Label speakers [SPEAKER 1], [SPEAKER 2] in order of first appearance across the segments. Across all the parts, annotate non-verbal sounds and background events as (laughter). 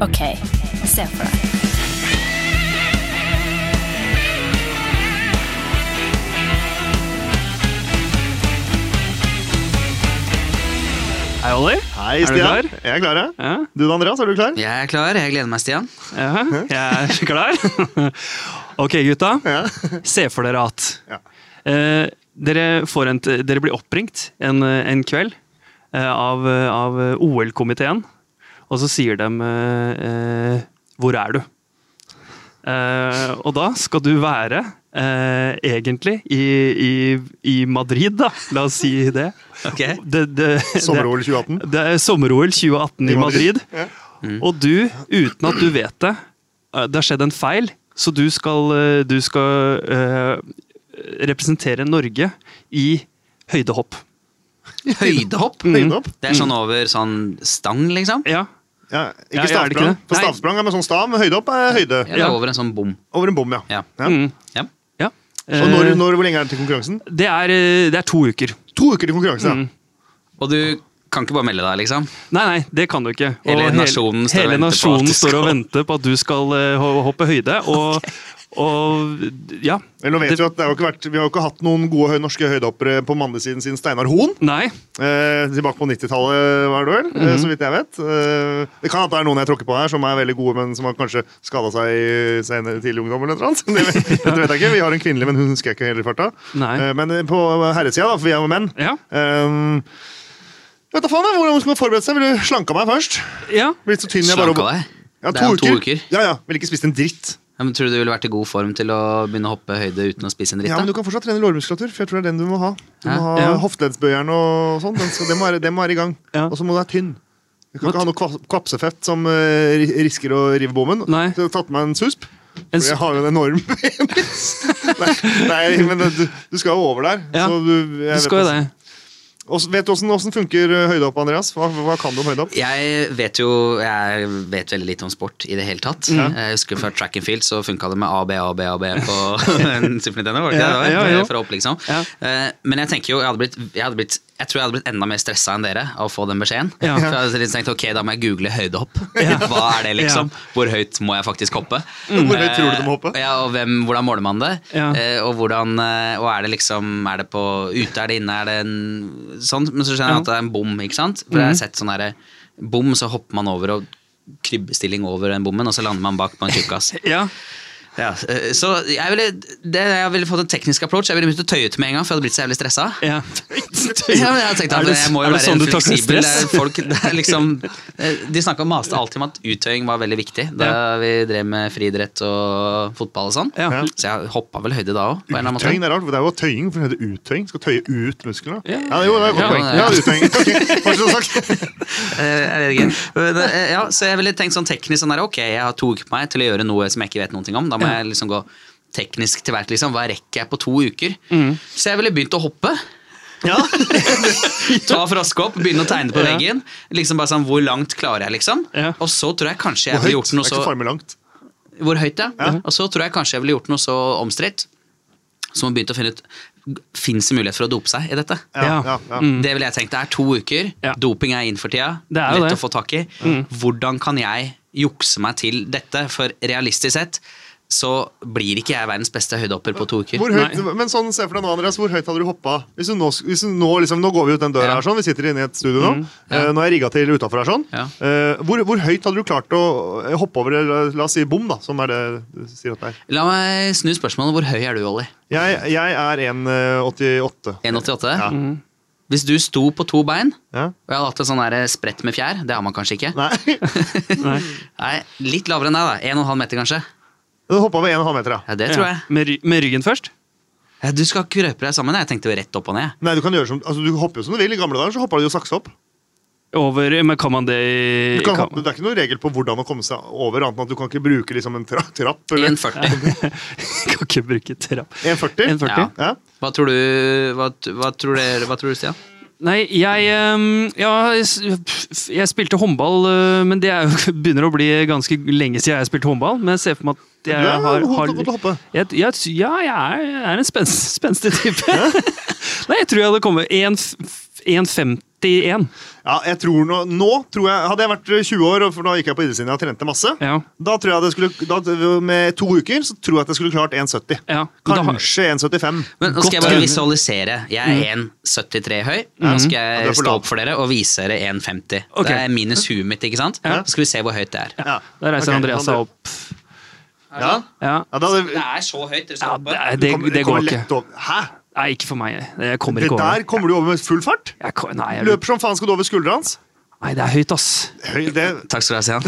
[SPEAKER 1] OK, se for deg.
[SPEAKER 2] Hei, Olli.
[SPEAKER 3] Hei,
[SPEAKER 2] Er du
[SPEAKER 3] Stian.
[SPEAKER 2] klar?
[SPEAKER 3] Jeg er klar, ja.
[SPEAKER 2] Ja,
[SPEAKER 3] Du da, Andreas, er du klar?
[SPEAKER 4] Jeg er klar. Jeg gleder
[SPEAKER 3] (laughs)
[SPEAKER 4] meg, Stian.
[SPEAKER 2] ja, jeg er klar. (laughs) ok, gutta.
[SPEAKER 3] Ja.
[SPEAKER 2] Se for dere at
[SPEAKER 3] Ja.
[SPEAKER 2] eh, dere, får en, dere blir oppringt en, en kveld eh, av, av OL-komiteen, og så sier de eh, eh, 'Hvor er du?' Eh, og da skal du være eh, egentlig i, i, i Madrid, da. La oss si det.
[SPEAKER 4] Ok.
[SPEAKER 2] det, det, det
[SPEAKER 3] Sommer-OL 2018.
[SPEAKER 2] det er sommer-OL 2018 i
[SPEAKER 3] I
[SPEAKER 2] Madrid. Mm.
[SPEAKER 3] Madrid.
[SPEAKER 2] Og du, uten at du vet det eh, Det har skjedd en feil, så du skal, eh, du skal eh, representere Norge i høydehopp.
[SPEAKER 4] Høydehopp.
[SPEAKER 2] Mm.
[SPEAKER 3] Høydehopp?
[SPEAKER 4] Det er sånn over sånn stang, liksom?
[SPEAKER 2] Ja.
[SPEAKER 3] Ja,
[SPEAKER 2] Ja,
[SPEAKER 3] ikke
[SPEAKER 2] ja, er det ikke
[SPEAKER 3] stavsprang.
[SPEAKER 2] det?
[SPEAKER 3] For
[SPEAKER 2] Nei.
[SPEAKER 3] stavsprang er med sånn stav, men høydehopp er høyde.
[SPEAKER 4] Ja, det
[SPEAKER 2] Ja.
[SPEAKER 4] er over en sånn bom.
[SPEAKER 3] Over en bom, ja.
[SPEAKER 4] Ja.
[SPEAKER 3] Ja.
[SPEAKER 2] Mm.
[SPEAKER 4] Ja.
[SPEAKER 2] ja.
[SPEAKER 3] Og når,
[SPEAKER 2] Eh,
[SPEAKER 3] når, hvor lenge er det til konkurransen?
[SPEAKER 2] Det, er, eh, det er to uker.
[SPEAKER 3] To uker til konkurranse, ja.
[SPEAKER 2] Mm.
[SPEAKER 4] Og du kan ikke bare melde deg, liksom?
[SPEAKER 2] Nei, nei, det kan du ikke. Og
[SPEAKER 4] Hele nasjonen står og
[SPEAKER 2] hele
[SPEAKER 4] venter på at
[SPEAKER 2] nasjonen
[SPEAKER 4] du
[SPEAKER 2] står og
[SPEAKER 4] skal-
[SPEAKER 2] venter på at du skal eh, ho- hoppe
[SPEAKER 4] (laughs)
[SPEAKER 2] høyde. Og, og ja.
[SPEAKER 3] Vel, nå vet
[SPEAKER 2] Det-
[SPEAKER 3] Vi at det har jo ikke vært, vi har jo ikke hatt noen gode høy, norske høydehoppere på mannlig-siden siden Steinar Hoen.
[SPEAKER 2] Nei.
[SPEAKER 3] Eh, tilbake på 90-tallet, var det vel?
[SPEAKER 2] Mhm.
[SPEAKER 3] eh, så vidt jeg vet. Eh, det kan at det er noen jeg tråkker på her som er veldig gode, men som har kanskje skada seg i senere tidlig ungdom. eller noe sånt. (laughs) Det, vet- det vet jeg ikke. Vi har en kvinnelig, men hun husker jeg ikke helt i farta.
[SPEAKER 2] Nei.
[SPEAKER 3] Eh, men på herresida, da, for vi er jo menn
[SPEAKER 2] Ja.
[SPEAKER 3] eh, jeg vet da faen jeg, Hvordan skulle man forberedt seg? Ville slanka meg først.
[SPEAKER 2] ja.
[SPEAKER 3] Blitt så tynn jeg bare
[SPEAKER 4] Slanka deg?
[SPEAKER 3] Ja,
[SPEAKER 4] Det er om to uker.
[SPEAKER 3] Ja, ja. Ville ikke spist en dritt.
[SPEAKER 4] Ja, men tror du du ville vært i god form til å begynne å hoppe høyde uten å spise en dritt?
[SPEAKER 3] Ja, men Du
[SPEAKER 4] da?
[SPEAKER 3] kan fortsatt trene lårmuskulatur, for jeg tror det er den du må ha. Du må
[SPEAKER 4] Ja.
[SPEAKER 3] ha
[SPEAKER 2] Ja.
[SPEAKER 3] Hofteleddsbøyeren og sånn. Den skal, det, må være, det må være i gang.
[SPEAKER 2] Ja.
[SPEAKER 3] Og så må du være tynn. Du kan
[SPEAKER 2] Hva-
[SPEAKER 3] ikke ha noe kva- kvapsefett som eh, ri- risker å rive bommen.
[SPEAKER 2] Nei.
[SPEAKER 3] Så jeg har tatt meg en susp.
[SPEAKER 2] En
[SPEAKER 3] For jeg har jo en enorm (laughs) penis. nei, nei, men det- du, du skal jo over der.
[SPEAKER 2] Ja.
[SPEAKER 3] Så du, jeg
[SPEAKER 2] Du skal jo
[SPEAKER 3] vet,
[SPEAKER 2] det.
[SPEAKER 3] Også, vet du åssen åssen funker eh, høydehopp, Andreas? Hva, hva kan du om høydehopp?
[SPEAKER 4] Jeg vet jo jeg vet veldig lite om sport i det hele tatt. Jeg husker Fra track and field så funka det med AB, AB, AB på
[SPEAKER 3] (laughs)
[SPEAKER 4] en Super Nintendo. Var det ikke
[SPEAKER 2] Ja,
[SPEAKER 4] det det
[SPEAKER 2] ja,
[SPEAKER 4] var?
[SPEAKER 2] ja.
[SPEAKER 4] For hopp, liksom.
[SPEAKER 2] Ja.
[SPEAKER 4] Eh, Men jeg tenker jo, jeg, hadde blitt, jeg, hadde blitt, jeg tror jeg hadde blitt enda mer stressa enn dere av å få den beskjeden.
[SPEAKER 2] Ja.
[SPEAKER 4] For jeg hadde litt tenkt, ok, Da må jeg
[SPEAKER 3] (laughs)
[SPEAKER 4] google høydehopp. Hva er det liksom? Hvor høyt må jeg faktisk hoppe?
[SPEAKER 3] Hvor høyt tror du du må hoppe?
[SPEAKER 4] Eh, Ja, og hvem, Hvordan måler man det?
[SPEAKER 2] Ja.
[SPEAKER 4] Eh, Og, hvordan, eh, og er det liksom Er det på ute, er det inne, er det en sånn? Men så skjønner jeg
[SPEAKER 2] Ja. Mhm.
[SPEAKER 4] at det er en bom, ikke sant? For jeg har sett sånn derre bom, så hopper man over og krybbestilling over den bommen, og så lander man bak på en tjukkas.
[SPEAKER 2] (laughs) Ja.
[SPEAKER 4] Ja, eh, så jeg ville, det, jeg ville fått en teknisk approach. Jeg ville begynt å tøye ut med en gang, for jeg hadde blitt så jævlig stressa.
[SPEAKER 2] (laughs) ja.
[SPEAKER 4] Ja, men jeg har tenkt at
[SPEAKER 2] Er det-
[SPEAKER 4] jeg må
[SPEAKER 2] er
[SPEAKER 4] jo
[SPEAKER 2] det
[SPEAKER 4] være
[SPEAKER 2] sånn
[SPEAKER 4] en
[SPEAKER 2] du takler
[SPEAKER 4] fleksibel det
[SPEAKER 2] stress?
[SPEAKER 4] er folk, det er liksom,
[SPEAKER 2] (laughs)
[SPEAKER 4] eh, De snakka og maste alltid om at uttøying var veldig viktig da vi drev med friidrett og fotball og sånn.
[SPEAKER 2] Ja.
[SPEAKER 4] Så jeg hoppa vel høyde da òg, på en eller annen måte.
[SPEAKER 3] Uttøying, det er rart. for Det er jo tøying, for det heter uttøying. Skal tøye ut musklene.
[SPEAKER 2] Ja.
[SPEAKER 3] Ja, jo, det er et godt
[SPEAKER 4] Ja,
[SPEAKER 3] poeng.
[SPEAKER 4] det er-
[SPEAKER 3] Ja, uttøying. Ok, fortsett å snakke.
[SPEAKER 4] Eh, Jeg vet ikke. Men, eh, Ja, så jeg ville tenkt sånn teknisk sånn der, ok, jeg har to uker på meg til å gjøre noe som jeg ikke vet noen ting om. Da må jeg liksom gå teknisk til verk, liksom. Hva rekker jeg på to uker?
[SPEAKER 2] Mm.
[SPEAKER 4] Så jeg ville begynt å hoppe. (laughs) Ta flaske opp, begynne å tegne på
[SPEAKER 2] Ja.
[SPEAKER 4] veggen. Liksom bare sånn, Hvor langt klarer jeg, liksom?
[SPEAKER 2] Ja.
[SPEAKER 4] Og så tror jeg kanskje jeg
[SPEAKER 3] Hvor
[SPEAKER 4] ville
[SPEAKER 3] høyt?
[SPEAKER 4] gjort
[SPEAKER 3] Det er
[SPEAKER 4] noe
[SPEAKER 3] ikke
[SPEAKER 4] så
[SPEAKER 3] farme langt.
[SPEAKER 4] Hvor høyt, ja. Og så tror jeg kanskje jeg ville gjort noe så omstridt som å begynne å finne ut Fins det mulighet for å dope seg i dette?
[SPEAKER 3] Ja,
[SPEAKER 2] Ja.
[SPEAKER 3] ja, ja.
[SPEAKER 4] Det vil jeg tenke. Det er to uker.
[SPEAKER 2] Mm. Ja.
[SPEAKER 4] Doping er inn for tida.
[SPEAKER 2] Det er jo det. Mm.
[SPEAKER 4] Lett å få tak i. Hvordan kan jeg jukse meg til dette? For realistisk sett så blir ikke jeg verdens beste høydehopper på to uker.
[SPEAKER 3] Hvor høyt, men sånn, se for deg nå, Andreas, hvor høyt hadde du hoppa? Hvis du nå, sk- hvis du nå, liksom, nå går vi ut den døra
[SPEAKER 4] Ja. Mm,
[SPEAKER 3] her, sånn. Vi sitter inne i et studio nå. Eh, nå er jeg rigga til utafor her, sånn.
[SPEAKER 4] Ja.
[SPEAKER 3] Eh, hvor, hvor høyt hadde du klart å eh, hoppe over, eller la oss si bom, da, som er det du sier at det er?
[SPEAKER 4] La meg snu spørsmålet. Hvor høy er du, Ollie?
[SPEAKER 3] Jeg, jeg er 1,88.
[SPEAKER 4] 1,88?
[SPEAKER 3] Ja.
[SPEAKER 4] Hvis du sto på to bein,
[SPEAKER 3] Ja.
[SPEAKER 4] og jeg hadde hatt en sånn der sprett med fjær Det har man kanskje ikke. Nei,
[SPEAKER 3] Nei, (laughs)
[SPEAKER 4] Litt lavere enn deg, da. 1,5 meter, kanskje.
[SPEAKER 3] du hoppa over 1,5 meter, ja.
[SPEAKER 4] Ja, Det tror
[SPEAKER 2] Ja.
[SPEAKER 4] jeg.
[SPEAKER 2] Med, ry med ryggen først?
[SPEAKER 4] Ja, du skal krøpe deg sammen. Jeg tenkte jo rett opp og ned.
[SPEAKER 3] Nei, du kan gjøre som, altså, du hopper jo som du vil. I gamle dager så hoppa du jo saksehopp.
[SPEAKER 2] Over, men kan man det i
[SPEAKER 3] Du kan
[SPEAKER 2] kan-
[SPEAKER 3] hoppe, det er ikke noen regel på hvordan å komme seg over, annet enn at du kan ikke bruke liksom, en tra trapp. Eller
[SPEAKER 4] 1,40.
[SPEAKER 2] (laughs) kan ikke bruke trapp.
[SPEAKER 3] 1,40.
[SPEAKER 2] 1,40?
[SPEAKER 4] Ja.
[SPEAKER 3] Ja.
[SPEAKER 4] Hva tror du, hva, hva tror dere, hva tror du Stian?
[SPEAKER 2] Nei, jeg ehm, Ja, jeg s- pff, jeg spilte håndball, øh, men det er jo, (laughs) begynner å bli ganske lenge siden jeg spilte håndball. Men jeg ser for meg at jeg
[SPEAKER 3] Du er
[SPEAKER 2] har,
[SPEAKER 3] god
[SPEAKER 2] har
[SPEAKER 3] til å hoppe.
[SPEAKER 2] jeg, jeg, Ja, jeg er, (laughs) jeg er en spens, spenstig type. Nei, jeg tror jeg hadde kommet 1,50 31.
[SPEAKER 3] Ja, jeg tror nå, nå tror jeg, Hadde jeg vært 20 år, og for da gikk jeg på idrettslinja og trente masse,
[SPEAKER 2] Ja.
[SPEAKER 3] da tror jeg det skulle, da, med to uker så tror jeg at jeg skulle klart 1,70.
[SPEAKER 2] Ja, men da har-
[SPEAKER 3] Kanskje 1,75.
[SPEAKER 4] Men nå skal jeg
[SPEAKER 2] Godt
[SPEAKER 4] bare
[SPEAKER 2] øyne.
[SPEAKER 4] visualisere. Jeg
[SPEAKER 3] Mm.
[SPEAKER 4] er 1,73 høy. Nå
[SPEAKER 3] Ja,
[SPEAKER 4] skal
[SPEAKER 3] du er
[SPEAKER 4] jeg
[SPEAKER 3] for
[SPEAKER 4] stå
[SPEAKER 3] lav.
[SPEAKER 4] opp for dere og vise dere 1,50.
[SPEAKER 2] Ok.
[SPEAKER 4] Det er minus huet mitt, ikke sant?
[SPEAKER 2] Ja.
[SPEAKER 4] Så skal vi se hvor høyt det er.
[SPEAKER 3] Ja.
[SPEAKER 2] Der reiser
[SPEAKER 3] Ok,
[SPEAKER 2] Andreas seg
[SPEAKER 3] Andre-
[SPEAKER 2] opp.
[SPEAKER 3] Ja.
[SPEAKER 2] Ja.
[SPEAKER 3] Ja, da, det,
[SPEAKER 4] Det er så høyt dere
[SPEAKER 2] Ja,
[SPEAKER 4] skal
[SPEAKER 2] det,
[SPEAKER 4] opp.
[SPEAKER 2] det,
[SPEAKER 3] kommer-
[SPEAKER 2] det
[SPEAKER 3] kommer
[SPEAKER 2] går
[SPEAKER 3] lett
[SPEAKER 2] ikke.
[SPEAKER 3] over. Hæ?
[SPEAKER 2] Nei, ikke for meg. Jeg kommer
[SPEAKER 3] Det
[SPEAKER 2] ikke over.
[SPEAKER 3] der kommer du over med full fart?
[SPEAKER 2] Jeg ko- nei, jeg,
[SPEAKER 3] Løper som faen skal du over skuldra hans?
[SPEAKER 2] nei, det er høyt, ass.
[SPEAKER 3] Høy, det,
[SPEAKER 4] Takk skal du ha,
[SPEAKER 3] (laughs)
[SPEAKER 4] Sian.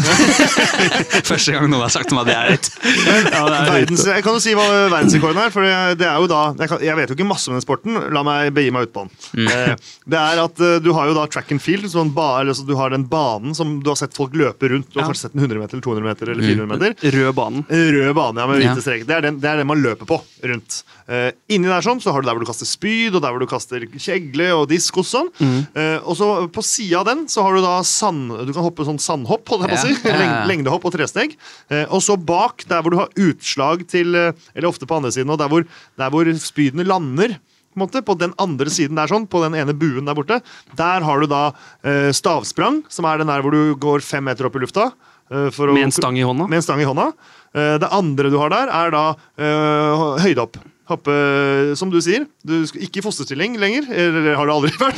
[SPEAKER 4] Første gang noen har sagt til meg at det er høyt.
[SPEAKER 2] Ja, det er høyt.
[SPEAKER 3] verdens, jeg kan jo si hva verdensrekorden er, for det er jo da jeg, kan, jeg vet jo ikke masse om den sporten, la meg begi meg ut på den.
[SPEAKER 2] Mm.
[SPEAKER 3] Eh, det er at eh, du har jo da track and field, sånn ba, eller, så du har den banen som du har sett folk løpe rundt. Du har
[SPEAKER 2] Ja. Mm.
[SPEAKER 3] kanskje sett den 100 meter, eller 200 meter eller 400 meter.
[SPEAKER 2] Rød banen.
[SPEAKER 3] En Rød bane ja, med
[SPEAKER 4] Mm. Ja.
[SPEAKER 3] hvite streker. Det er, den, det er den man løper på rundt. Eh, inni der sånn, så har du der hvor du kaster spyd, og der hvor du kaster kjegle og disk og sånn.
[SPEAKER 4] Mm.
[SPEAKER 3] Eh, og så på sida av den så har du da sand... Du kan hoppe sånn sandhopp, holdt jeg på å
[SPEAKER 4] Ja.
[SPEAKER 3] si.
[SPEAKER 4] Ja, ja,
[SPEAKER 3] Leng-
[SPEAKER 4] ja.
[SPEAKER 3] Lengdehopp og tresteg. Eh, og så bak, der hvor du har utslag til eh, Eller ofte på andre siden, og der hvor, der hvor spydene lander. På, en måte, på den andre siden der, sånn, på den ene buen der borte, der har du da eh, stavsprang, som er den der hvor du går fem meter opp i lufta. eh, for å-
[SPEAKER 2] Med en stang i hånda?
[SPEAKER 3] Med en stang i hånda. Eh, Det andre du har der, er da eh, høydehopp. Hoppe, som du sier. Du skal ikke i fosterstilling lenger. Eller har det aldri (laughs) vært.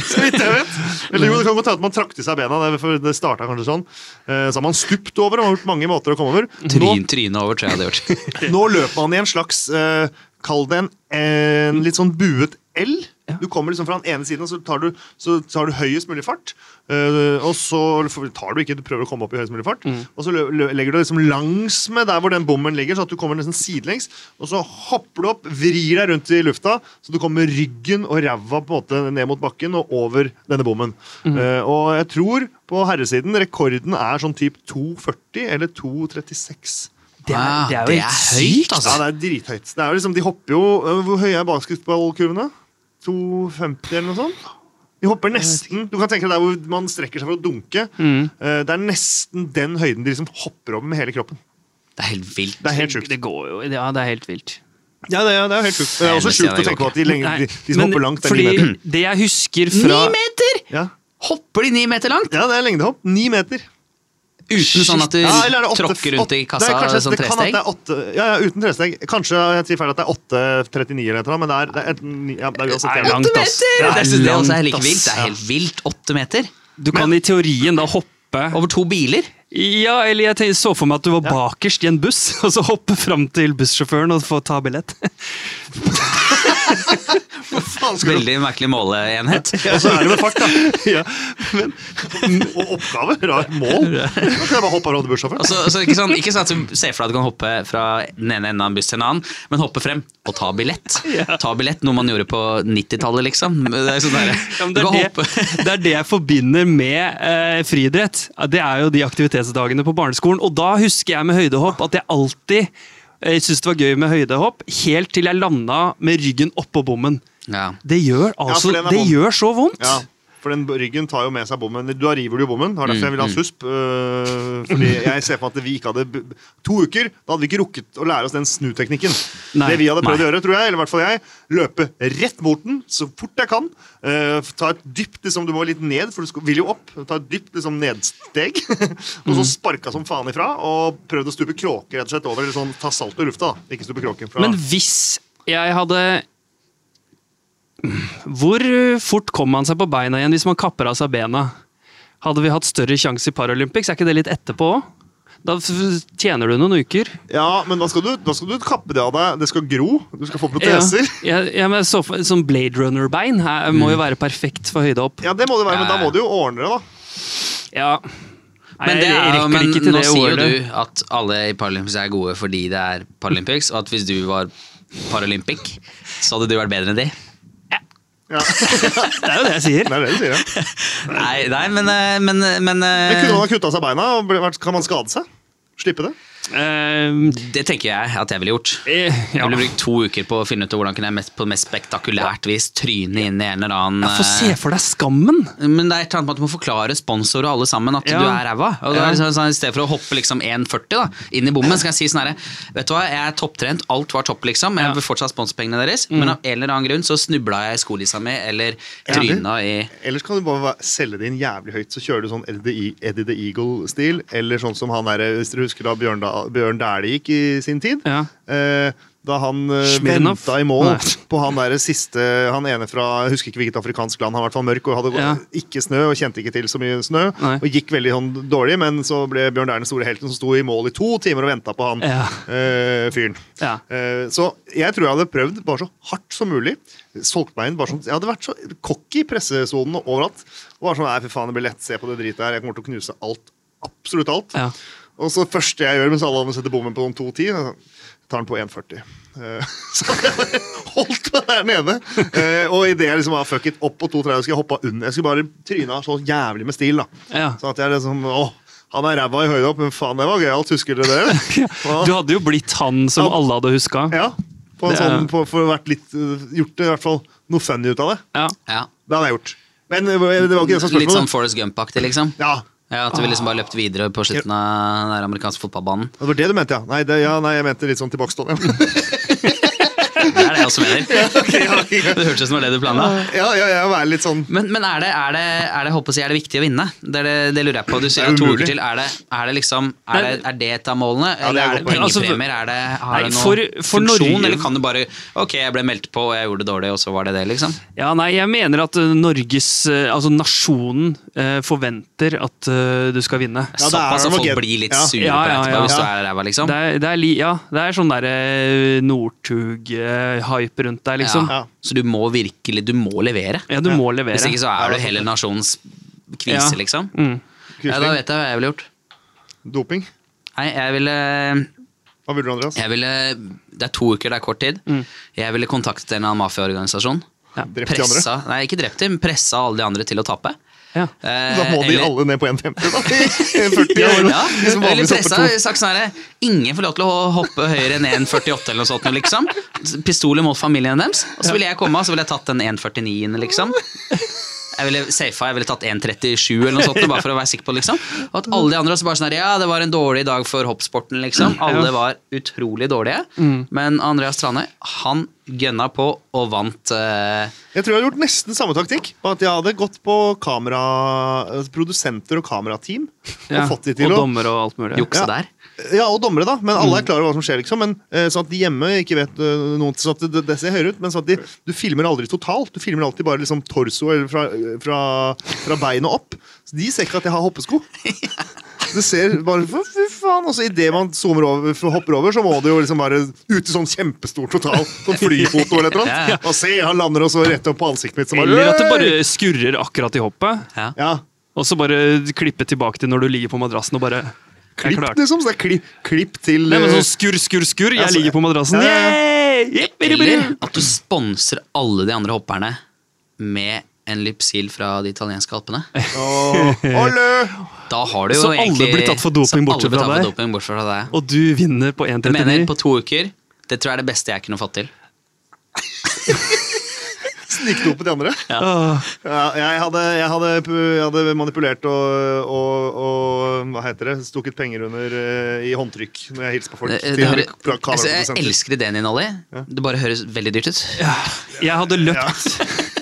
[SPEAKER 3] så vidt jeg vet. Eller jo, det kan godt hende at man trakk til seg bena. det- For det starta kanskje sånn. Eh, Så har man stupt over og man har gjort mange måter å komme over. Nå,
[SPEAKER 4] Tryn, trynet over tror jeg hadde
[SPEAKER 3] (laughs)
[SPEAKER 4] gjort.
[SPEAKER 3] nå løper man i en slags eh, Kall det en, en litt sånn buet L. Du kommer liksom fra den ene siden, og så tar du, så tar du høyest mulig fart. Eh, og så tar du ikke, du prøver å komme opp i høyest mulig fart. Og så lø- lø- legger du liksom langs med der hvor den bommen ligger, så at du kommer nesten sidelengs. Og så hopper du opp, vrir deg rundt i lufta, så du kommer ryggen og ræva på en måte ned mot bakken og over denne bommen. Eh, og jeg tror på herresiden rekorden er sånn typ 2,40 eller 2,36.
[SPEAKER 2] Det er, det er jo
[SPEAKER 4] Det
[SPEAKER 2] helt
[SPEAKER 4] er høyt,
[SPEAKER 2] sykt.
[SPEAKER 4] altså.
[SPEAKER 3] Ja, det er drithøyt. Det er jo liksom, de hopper jo øh, Hvor høye er basketballkurvene? 2,50 eller noe sånt? De hopper nesten Du kan tenke deg der hvor man strekker seg for å dunke. Eh, Det er nesten den høyden de liksom hopper over med hele kroppen.
[SPEAKER 4] Det er helt vilt.
[SPEAKER 3] Det er helt sjukt.
[SPEAKER 2] Det går jo, ja, det er helt vilt.
[SPEAKER 3] Ja, det er, det er helt sjukt. Men Det er også
[SPEAKER 4] Nei,
[SPEAKER 3] sjukt
[SPEAKER 4] det
[SPEAKER 3] å
[SPEAKER 4] ser jeg
[SPEAKER 3] tenke på at de, lenge,
[SPEAKER 2] Nei,
[SPEAKER 3] de, de som
[SPEAKER 2] men
[SPEAKER 3] hopper langt, er
[SPEAKER 2] fordi
[SPEAKER 3] ni meter. (clears throat)
[SPEAKER 2] Det jeg husker fra
[SPEAKER 4] Ni meter!
[SPEAKER 3] Ja.
[SPEAKER 4] Hopper de ni meter langt?
[SPEAKER 3] ja, det er lengdehopp. Ni meter.
[SPEAKER 4] Uten sånn at du
[SPEAKER 3] Ja, eller er det åtte-
[SPEAKER 4] tråkker rundt i
[SPEAKER 3] åtte-
[SPEAKER 4] kassa
[SPEAKER 3] det er kanskje-
[SPEAKER 4] sånn
[SPEAKER 3] det kan at
[SPEAKER 4] tresteg?
[SPEAKER 3] det er åtte- Ja, ja, uten tresteg. Kanskje jeg sier feil at det er 8,39 eller noe, men det er, det er, et- ni- ja, det er uansett
[SPEAKER 2] Det er
[SPEAKER 3] jævlig.
[SPEAKER 2] langt.
[SPEAKER 4] Åtte
[SPEAKER 2] ass.
[SPEAKER 4] meter!
[SPEAKER 2] Det er
[SPEAKER 4] Det synes jeg også
[SPEAKER 2] langt,
[SPEAKER 4] er like
[SPEAKER 2] ass.
[SPEAKER 4] vilt. Det er
[SPEAKER 2] Ja.
[SPEAKER 4] helt vilt. Åtte meter
[SPEAKER 2] Du kan i teorien da hoppe
[SPEAKER 4] over to biler.
[SPEAKER 2] Ja, eller jeg tenk- så for meg at du var bakerst i en buss, (laughs) og så hoppe fram til bussjåføren og få ta billett.
[SPEAKER 3] Faen, skal du
[SPEAKER 4] Veldig merkelig måleenhet.
[SPEAKER 3] (laughs) Og så er det med fart, da. Ja, men, og oppgave. Rar (laughs) mål. Da kan jeg bare hoppe rundt bussjåføren.
[SPEAKER 4] Altså, altså, ikke, sånn, ikke sånn at du ser for deg at du kan hoppe fra den ene enden av en buss til en annen, men hoppe frem og ta billett. Ta billett, Noe man gjorde på 90-tallet, liksom. Det er sånn
[SPEAKER 2] (laughs)
[SPEAKER 4] der,
[SPEAKER 2] Ja, men
[SPEAKER 4] du
[SPEAKER 2] det,
[SPEAKER 4] kan
[SPEAKER 2] er
[SPEAKER 4] hoppe. (laughs)
[SPEAKER 2] det, (laughs) det er det jeg forbinder med eh, friidrett. Det er jo de aktivitetsdagene på barneskolen. Og da husker jeg med høydehopp at jeg alltid eh, syntes det var gøy med høydehopp, helt til jeg landa med ryggen oppå bommen.
[SPEAKER 4] Ja.
[SPEAKER 2] Det gjør altså
[SPEAKER 3] for den er
[SPEAKER 2] Det
[SPEAKER 3] vond.
[SPEAKER 2] gjør så vondt!
[SPEAKER 3] Ja, for den ryggen tar jo med seg bommen. Da river du jo bommen. Det var derfor jeg
[SPEAKER 2] Mm,
[SPEAKER 3] ville ha susp. øh, fordi jeg ser for meg at vi ikke hadde b- To uker, da hadde vi ikke rukket å lære oss den snuteknikken.
[SPEAKER 2] Nei,
[SPEAKER 3] det vi hadde prøvd
[SPEAKER 2] nei.
[SPEAKER 3] å gjøre, tror jeg, eller i hvert fall jeg, løpe rett mot den så fort jeg kan. øh, ta et dypt liksom, Du må litt ned, for du skal, vil jo opp. Ta et dypt liksom, nedsteg. (laughs) og
[SPEAKER 2] Mm.
[SPEAKER 3] så sparka som faen ifra, og prøvd å stupe kråke rett og slett over. Eller sånn, ta salt i lufta, da. Ikke stupe kråken fra
[SPEAKER 2] Men hvis jeg hadde Hvor fort kom man seg på beina igjen hvis man kapper av seg bena? Hadde vi hatt større sjanse i Paralympics? Er ikke det litt etterpå òg? Da f- tjener du noen uker.
[SPEAKER 3] Ja, men da skal, du, da skal du kappe det av deg. Det skal gro. Du skal få proteser. Ja.
[SPEAKER 2] Ja, ja, ja, men så, for- Sånn Blade Runner-bein her må jo være perfekt for høydehopp. Ja.
[SPEAKER 3] det må det være, men
[SPEAKER 4] Ja,
[SPEAKER 3] da
[SPEAKER 4] ja.
[SPEAKER 3] må du jo ordne det, da.
[SPEAKER 2] Nei,
[SPEAKER 4] Men, det
[SPEAKER 2] jeg
[SPEAKER 4] er, jo-
[SPEAKER 2] rekker
[SPEAKER 4] men
[SPEAKER 2] ikke til
[SPEAKER 4] nå
[SPEAKER 2] det
[SPEAKER 4] sier jo
[SPEAKER 2] OL-et.
[SPEAKER 4] du at alle i Paralympics er gode fordi det er Paralympics, og at hvis du var Paralympic, så hadde du vært bedre enn de. (laughs)
[SPEAKER 3] Ja.
[SPEAKER 2] Det er jo det jeg sier.
[SPEAKER 3] Det er det du sier, ja.
[SPEAKER 4] Nei, nei men, eh, men, men, eh,
[SPEAKER 3] Men kunne man ha kutta seg beina? og ble- vært- Kan man skade seg? Slippe det?
[SPEAKER 2] Eh,
[SPEAKER 4] Det tenker jeg at jeg ville gjort.
[SPEAKER 2] eh, ja.
[SPEAKER 4] Jeg ville brukt to uker på å finne ut av hvordan kunne jeg mest, på mest spektakulært vis tryne inn i en eller annen
[SPEAKER 2] Få se for deg skammen!
[SPEAKER 4] eh, Men det er et eller annet med at du må forklare sponsor og alle sammen at
[SPEAKER 2] Ja.
[SPEAKER 4] du er ræva. Og det
[SPEAKER 2] Ja.
[SPEAKER 4] er liksom sånn, I stedet for å hoppe liksom 1,40 da, inn i bommen, skal jeg si sånn herre Vet du hva, jeg er topptrent, alt var topp, liksom.
[SPEAKER 2] Ja. Mm.
[SPEAKER 4] Jeg vil fortsatt ha sponsorpengene deres, men av en eller annen grunn så snubla jeg i skolissa mi, eller tryna i
[SPEAKER 3] Ellers kan du bare va- selge det inn jævlig høyt, så kjører du sånn Eddie, the E- Eddie the Eagle-stil. Eller sånn som han der, hvis dere husker da Bjørn, da, Bjørn Dæhlie gikk i sin tid.
[SPEAKER 2] Ja.
[SPEAKER 3] Eh, da han eh,
[SPEAKER 2] Svenov.
[SPEAKER 3] renta i mål
[SPEAKER 2] Nei.
[SPEAKER 3] på han der siste Han ene fra jeg husker ikke hvilket afrikansk land, han var i hvert fall mørk og hadde gå-
[SPEAKER 2] Ja.
[SPEAKER 3] ikke snø og kjente ikke til så mye snø.
[SPEAKER 2] Nei.
[SPEAKER 3] Og gikk veldig sånn dårlig, men så ble Bjørn Dæhlie den store helten som sto i mål i to timer og venta på han
[SPEAKER 2] Ja.
[SPEAKER 3] eh, fyren.
[SPEAKER 2] Ja.
[SPEAKER 3] Eh, Så jeg tror jeg hadde prøvd bare så hardt som mulig. Solgt meg inn bare som, Jeg hadde vært så cocky i pressesonen og overalt. Og var sånn, nei, fy faen, det blir lett, se på det dritet her. Jeg kommer til å knuse alt. Absolutt alt.
[SPEAKER 2] Ja.
[SPEAKER 3] Og så første jeg gjør mens alle andre setter bommen på sånn 2.10, er sånn, tar den på 1.40. Eh, (laughs) Så jeg bare holdt meg der nede. Eh, Og idet jeg liksom var fuck it, opp på 2.30 skulle jeg hoppa under. Jeg skulle bare tryna så jævlig med stil, da.
[SPEAKER 2] Ja.
[SPEAKER 3] Sånn at jeg liksom Åh, han er ræva i høyde opp, men faen, det var gøyalt. Husker dere det?
[SPEAKER 2] (laughs)
[SPEAKER 3] Hva?
[SPEAKER 2] Du hadde jo blitt han som
[SPEAKER 3] Ja.
[SPEAKER 2] alle hadde huska.
[SPEAKER 3] Ja, på en
[SPEAKER 2] Det er-
[SPEAKER 3] sånn, på, for å vært litt, øh, gjort det i hvert fall noe funny ut av det.
[SPEAKER 2] Ja.
[SPEAKER 4] ja.
[SPEAKER 3] Det hadde jeg gjort. Men øh, det var ikke det som var
[SPEAKER 4] Litt sånn
[SPEAKER 3] spørsmålet.
[SPEAKER 4] Forest Gump-aktig, liksom.
[SPEAKER 3] Ja,
[SPEAKER 4] Ja, At vi liksom bare løpte videre på slutten av den der amerikanske fotballbanen.
[SPEAKER 3] det var det du mente, ja. Nei, det, ja, nei jeg mente litt sånn tilbakestående.
[SPEAKER 4] Det er det jeg også mener. (laughs) Det hørtes ut som det var det du planla.
[SPEAKER 3] (laughs) ja, ja, ja, være litt sånn
[SPEAKER 4] Men, men er, det, er, det, er, det, håper jeg, å si, er det viktig å vinne? Det, er det, det lurer jeg på. Du sier
[SPEAKER 3] Det er
[SPEAKER 4] at to
[SPEAKER 3] umulig.
[SPEAKER 4] uker til. Er det, er det liksom Er det, er det et av målene?
[SPEAKER 3] Ja, det
[SPEAKER 4] Eller
[SPEAKER 3] er et
[SPEAKER 4] er det
[SPEAKER 3] godt poeng.
[SPEAKER 4] pengepremier? Er det, har
[SPEAKER 2] Altså, Nei,
[SPEAKER 4] det noen
[SPEAKER 2] for- for
[SPEAKER 4] funksjon?
[SPEAKER 2] Norge-
[SPEAKER 4] Eller kan du bare Ok, jeg ble meldt på, og jeg gjorde det dårlig, og så var det det, liksom?
[SPEAKER 2] Ja, nei, jeg mener at eh, Norges, eh, altså nasjonen, eh, forventer at eh, du skal vinne.
[SPEAKER 3] Ja, det er
[SPEAKER 4] Såpass
[SPEAKER 3] det
[SPEAKER 4] at folk
[SPEAKER 3] nok en-
[SPEAKER 4] blir litt
[SPEAKER 3] ja.
[SPEAKER 4] sure
[SPEAKER 2] Ja,
[SPEAKER 4] på deg
[SPEAKER 2] ja,
[SPEAKER 4] etterpå
[SPEAKER 2] ja.
[SPEAKER 4] hvis du er ræva, liksom?
[SPEAKER 2] Det er, det er, li- ja, det er sånn der eh, Northug-hype rundt deg, liksom.
[SPEAKER 4] ja. Så du må virkelig Du må levere.
[SPEAKER 2] Ja, du må levere.
[SPEAKER 4] Hvis ikke så
[SPEAKER 3] Ja,
[SPEAKER 4] er
[SPEAKER 3] det
[SPEAKER 4] du
[SPEAKER 3] er
[SPEAKER 4] hele nasjonens kvise,
[SPEAKER 2] Ja.
[SPEAKER 4] liksom.
[SPEAKER 2] Mm.
[SPEAKER 4] Ja, da
[SPEAKER 3] kusling.
[SPEAKER 4] vet jeg hva jeg ville gjort.
[SPEAKER 3] Doping.
[SPEAKER 4] Nei, jeg ville,
[SPEAKER 3] Hva ville du, Andreas?
[SPEAKER 4] jeg ville Det er to uker, det er kort tid. Jeg ville kontaktet en eller annen mafiaorganisasjon.
[SPEAKER 3] Mm. Drept de andre?
[SPEAKER 4] Pressa, nei, ikke drept dem, pressa alle de andre til å tape.
[SPEAKER 2] Ja.
[SPEAKER 4] Eh,
[SPEAKER 3] Da må de
[SPEAKER 4] eller-
[SPEAKER 3] alle ned på 1,50,
[SPEAKER 4] (laughs)
[SPEAKER 3] da. 40
[SPEAKER 4] ja,
[SPEAKER 3] år.
[SPEAKER 4] ja.
[SPEAKER 3] de (laughs) som
[SPEAKER 4] Eller
[SPEAKER 3] vanligvis hopper
[SPEAKER 4] pressa,
[SPEAKER 3] to.
[SPEAKER 4] sagt sånn her, Ingen får lov til å hoppe høyere enn 1,48 eller noe sånt. nå, Liksom. Pistoler mot familien deres. Og så ville jeg komme og så ville jeg tatt den 1,49-en, liksom. Jeg ville safa, jeg ville tatt 1,37 eller noe sånt, bare for å være sikker på det, liksom. Og at alle de andre også bare sånn her, ja, det var en dårlig dag for hoppsporten, liksom. Alle var utrolig dårlige.
[SPEAKER 3] Mm.
[SPEAKER 4] Men Andreas Tranøy, han gønna på og vant. eh,
[SPEAKER 3] Jeg tror jeg hadde gjort nesten samme taktikk. På at jeg hadde gått på kamera, altså, produsenter og kamerateam.
[SPEAKER 2] Ja.
[SPEAKER 3] Og fått de til
[SPEAKER 2] og
[SPEAKER 3] å
[SPEAKER 2] dommer og alt mulig.
[SPEAKER 4] jukse
[SPEAKER 3] Ja.
[SPEAKER 4] der.
[SPEAKER 3] Ja, og dommere, da. Men
[SPEAKER 2] Mm.
[SPEAKER 3] alle er klar over hva som skjer. liksom, men eh, Sånn at de hjemme ikke vet eh, noen sånn at det, det ser høyere ut, men sånn at de, du filmer aldri totalt. Du filmer alltid bare liksom torso eller fra, fra, fra beinet opp. Så de ser ikke at jeg har hoppesko. Det ser bare for, Fy faen! Og så idet man zoomer over, hopper over, så må det jo liksom bare ut i sånn kjempestor total. Sånn flyfoto eller et eller
[SPEAKER 4] Ja.
[SPEAKER 3] annet. Og se, han lander og så rett opp på ansiktet mitt. Så bare,
[SPEAKER 2] Eller at det
[SPEAKER 3] «Øy!»
[SPEAKER 2] bare skurrer akkurat i hoppet,
[SPEAKER 4] Ja.
[SPEAKER 3] ja,
[SPEAKER 2] og så bare klippe tilbake til når du ligger på madrassen og bare Jeg
[SPEAKER 3] Klipp,
[SPEAKER 2] klarte det.
[SPEAKER 3] liksom. Så det er klipp, klipp til
[SPEAKER 2] Nei, men
[SPEAKER 3] eh,
[SPEAKER 2] sånn skurr, skurr, skurr. Jeg
[SPEAKER 3] altså,
[SPEAKER 2] ligger på madrassen.
[SPEAKER 3] ja, ja,
[SPEAKER 2] Yay! Jipp, jipp,
[SPEAKER 4] Eller
[SPEAKER 2] jipp.
[SPEAKER 4] at du sponser alle de andre hopperne med en Lypsil fra de italienske alpene.
[SPEAKER 3] «Åh, Olle!»
[SPEAKER 4] Da har du jo
[SPEAKER 2] Så alle
[SPEAKER 4] egentlig
[SPEAKER 2] blir tatt for doping
[SPEAKER 4] så alle
[SPEAKER 2] bortsett
[SPEAKER 4] blir
[SPEAKER 2] fra
[SPEAKER 4] tatt for
[SPEAKER 2] deg?
[SPEAKER 4] doping bortsett fra deg.
[SPEAKER 2] Og du vinner på
[SPEAKER 4] Jeg
[SPEAKER 2] 1,39.
[SPEAKER 4] mener, på to uker Det tror jeg er det beste jeg kunne fått til.
[SPEAKER 3] Snikdope de andre.
[SPEAKER 2] Åh,
[SPEAKER 3] Ja, jeg, hadde, jeg, hadde, pu- jeg hadde manipulert og, og, og hva heter det, stukket penger under eh, i håndtrykk når jeg hilser på folk.
[SPEAKER 4] Det,
[SPEAKER 3] til
[SPEAKER 4] det hører,
[SPEAKER 3] fra
[SPEAKER 4] altså, jeg
[SPEAKER 3] kameraprodusenter.
[SPEAKER 4] elsker ideen din, Ollie. Det bare høres veldig dyrt ut.
[SPEAKER 2] Jeg hadde løpt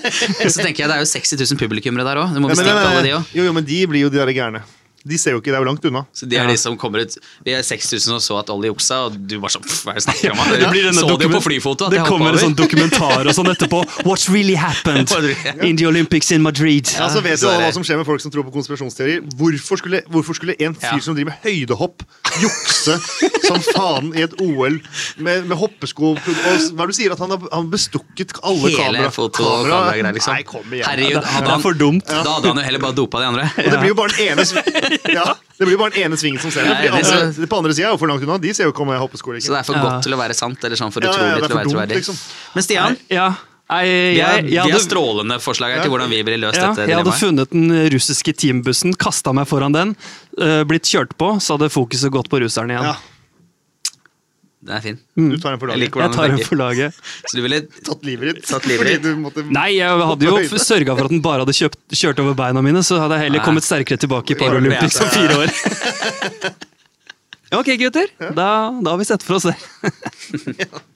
[SPEAKER 4] Og (laughs) så tenker jeg det er jo 60 000 publikummere der òg. Du må
[SPEAKER 3] Ja, men,
[SPEAKER 4] bestikke
[SPEAKER 3] men,
[SPEAKER 4] alle de òg.
[SPEAKER 3] jo, jo, men de blir jo de der gærne. De ser jo ikke, det er jo langt unna.
[SPEAKER 4] Så de er de som kommer ut Vi er 6000 som så at Ollie juksa, og du bare sånn "Pff, Hva er det du snakker om? da?"
[SPEAKER 2] Det blir denne
[SPEAKER 4] så det jo
[SPEAKER 2] dokumen-
[SPEAKER 4] på flyfoto at
[SPEAKER 2] Det
[SPEAKER 4] jeg hoppa
[SPEAKER 2] kommer en
[SPEAKER 4] over.
[SPEAKER 2] sånn dokumentar og sånn etterpå. What really
[SPEAKER 3] (laughs)
[SPEAKER 2] happened in the Olympics in Madrid.
[SPEAKER 3] Ja, så Altså, vet
[SPEAKER 4] så
[SPEAKER 3] jo
[SPEAKER 4] er
[SPEAKER 3] alle
[SPEAKER 4] det-
[SPEAKER 3] hva som skjer med folk som tror på konspirasjonsteorier. Hvorfor skulle, hvorfor skulle en fyr
[SPEAKER 4] Ja.
[SPEAKER 3] som driver med høydehopp, jukse som faen i et OL med, med hoppesko og, Hva er det du sier? At han har han har bestukket alle
[SPEAKER 4] Hele
[SPEAKER 3] kamera...
[SPEAKER 4] foto og
[SPEAKER 3] kamera-
[SPEAKER 4] kameragreier, liksom.
[SPEAKER 3] Nei, kom igjen.
[SPEAKER 4] Herregud, hadde
[SPEAKER 2] det er
[SPEAKER 4] han,
[SPEAKER 2] for dumt.
[SPEAKER 4] da hadde han jo heller bare dopa de andre.
[SPEAKER 3] Og det blir jo bare den ene,
[SPEAKER 4] (laughs)
[SPEAKER 3] sv- ja, det blir bare den ene svingen som ser det.
[SPEAKER 4] Nei,
[SPEAKER 3] Fordi
[SPEAKER 4] det
[SPEAKER 3] andre,
[SPEAKER 4] så-
[SPEAKER 3] det på andre sida er jo for langt unna. De ser jo ikke om jeg hopper sko eller
[SPEAKER 4] Så det
[SPEAKER 3] ikke.
[SPEAKER 4] er for
[SPEAKER 2] Ja.
[SPEAKER 4] godt til å være sant, eller sånn for
[SPEAKER 3] Ja, ja,
[SPEAKER 4] utrolig
[SPEAKER 3] ja, det er
[SPEAKER 4] til å
[SPEAKER 3] for
[SPEAKER 4] være
[SPEAKER 3] dumt,
[SPEAKER 4] troverdig.
[SPEAKER 3] liksom.
[SPEAKER 4] Men Stian,
[SPEAKER 2] Ja, jeg,
[SPEAKER 4] vi har,
[SPEAKER 2] jeg,
[SPEAKER 4] vi
[SPEAKER 2] jeg
[SPEAKER 4] har
[SPEAKER 2] hadde,
[SPEAKER 4] strålende forslag her til hvordan vi ville løst
[SPEAKER 2] ja,
[SPEAKER 4] dette
[SPEAKER 2] jeg hadde
[SPEAKER 4] dilemmaet.
[SPEAKER 2] funnet den russiske eh, teambussen, kasta meg foran den, øh, blitt kjørt på, så hadde fokuset gått på russerne igjen.
[SPEAKER 3] Ja.
[SPEAKER 4] Den er fin.
[SPEAKER 3] Du tar en for laget.
[SPEAKER 4] Jeg liker hvordan
[SPEAKER 2] Jeg tar
[SPEAKER 4] den
[SPEAKER 2] en for laget.
[SPEAKER 4] Så du ville
[SPEAKER 3] Tatt livet ditt.
[SPEAKER 4] Tatt livet
[SPEAKER 3] Fordi
[SPEAKER 4] ditt.
[SPEAKER 3] du måtte-
[SPEAKER 2] Nei, jeg hadde jo sørga for at den bare hadde kjøpt, kjørt over beina mine, så hadde jeg heller
[SPEAKER 4] Nei.
[SPEAKER 2] kommet sterkere tilbake i Paralympics om fire år. (laughs) Ok, gutter. Da, da har vi sett for oss det.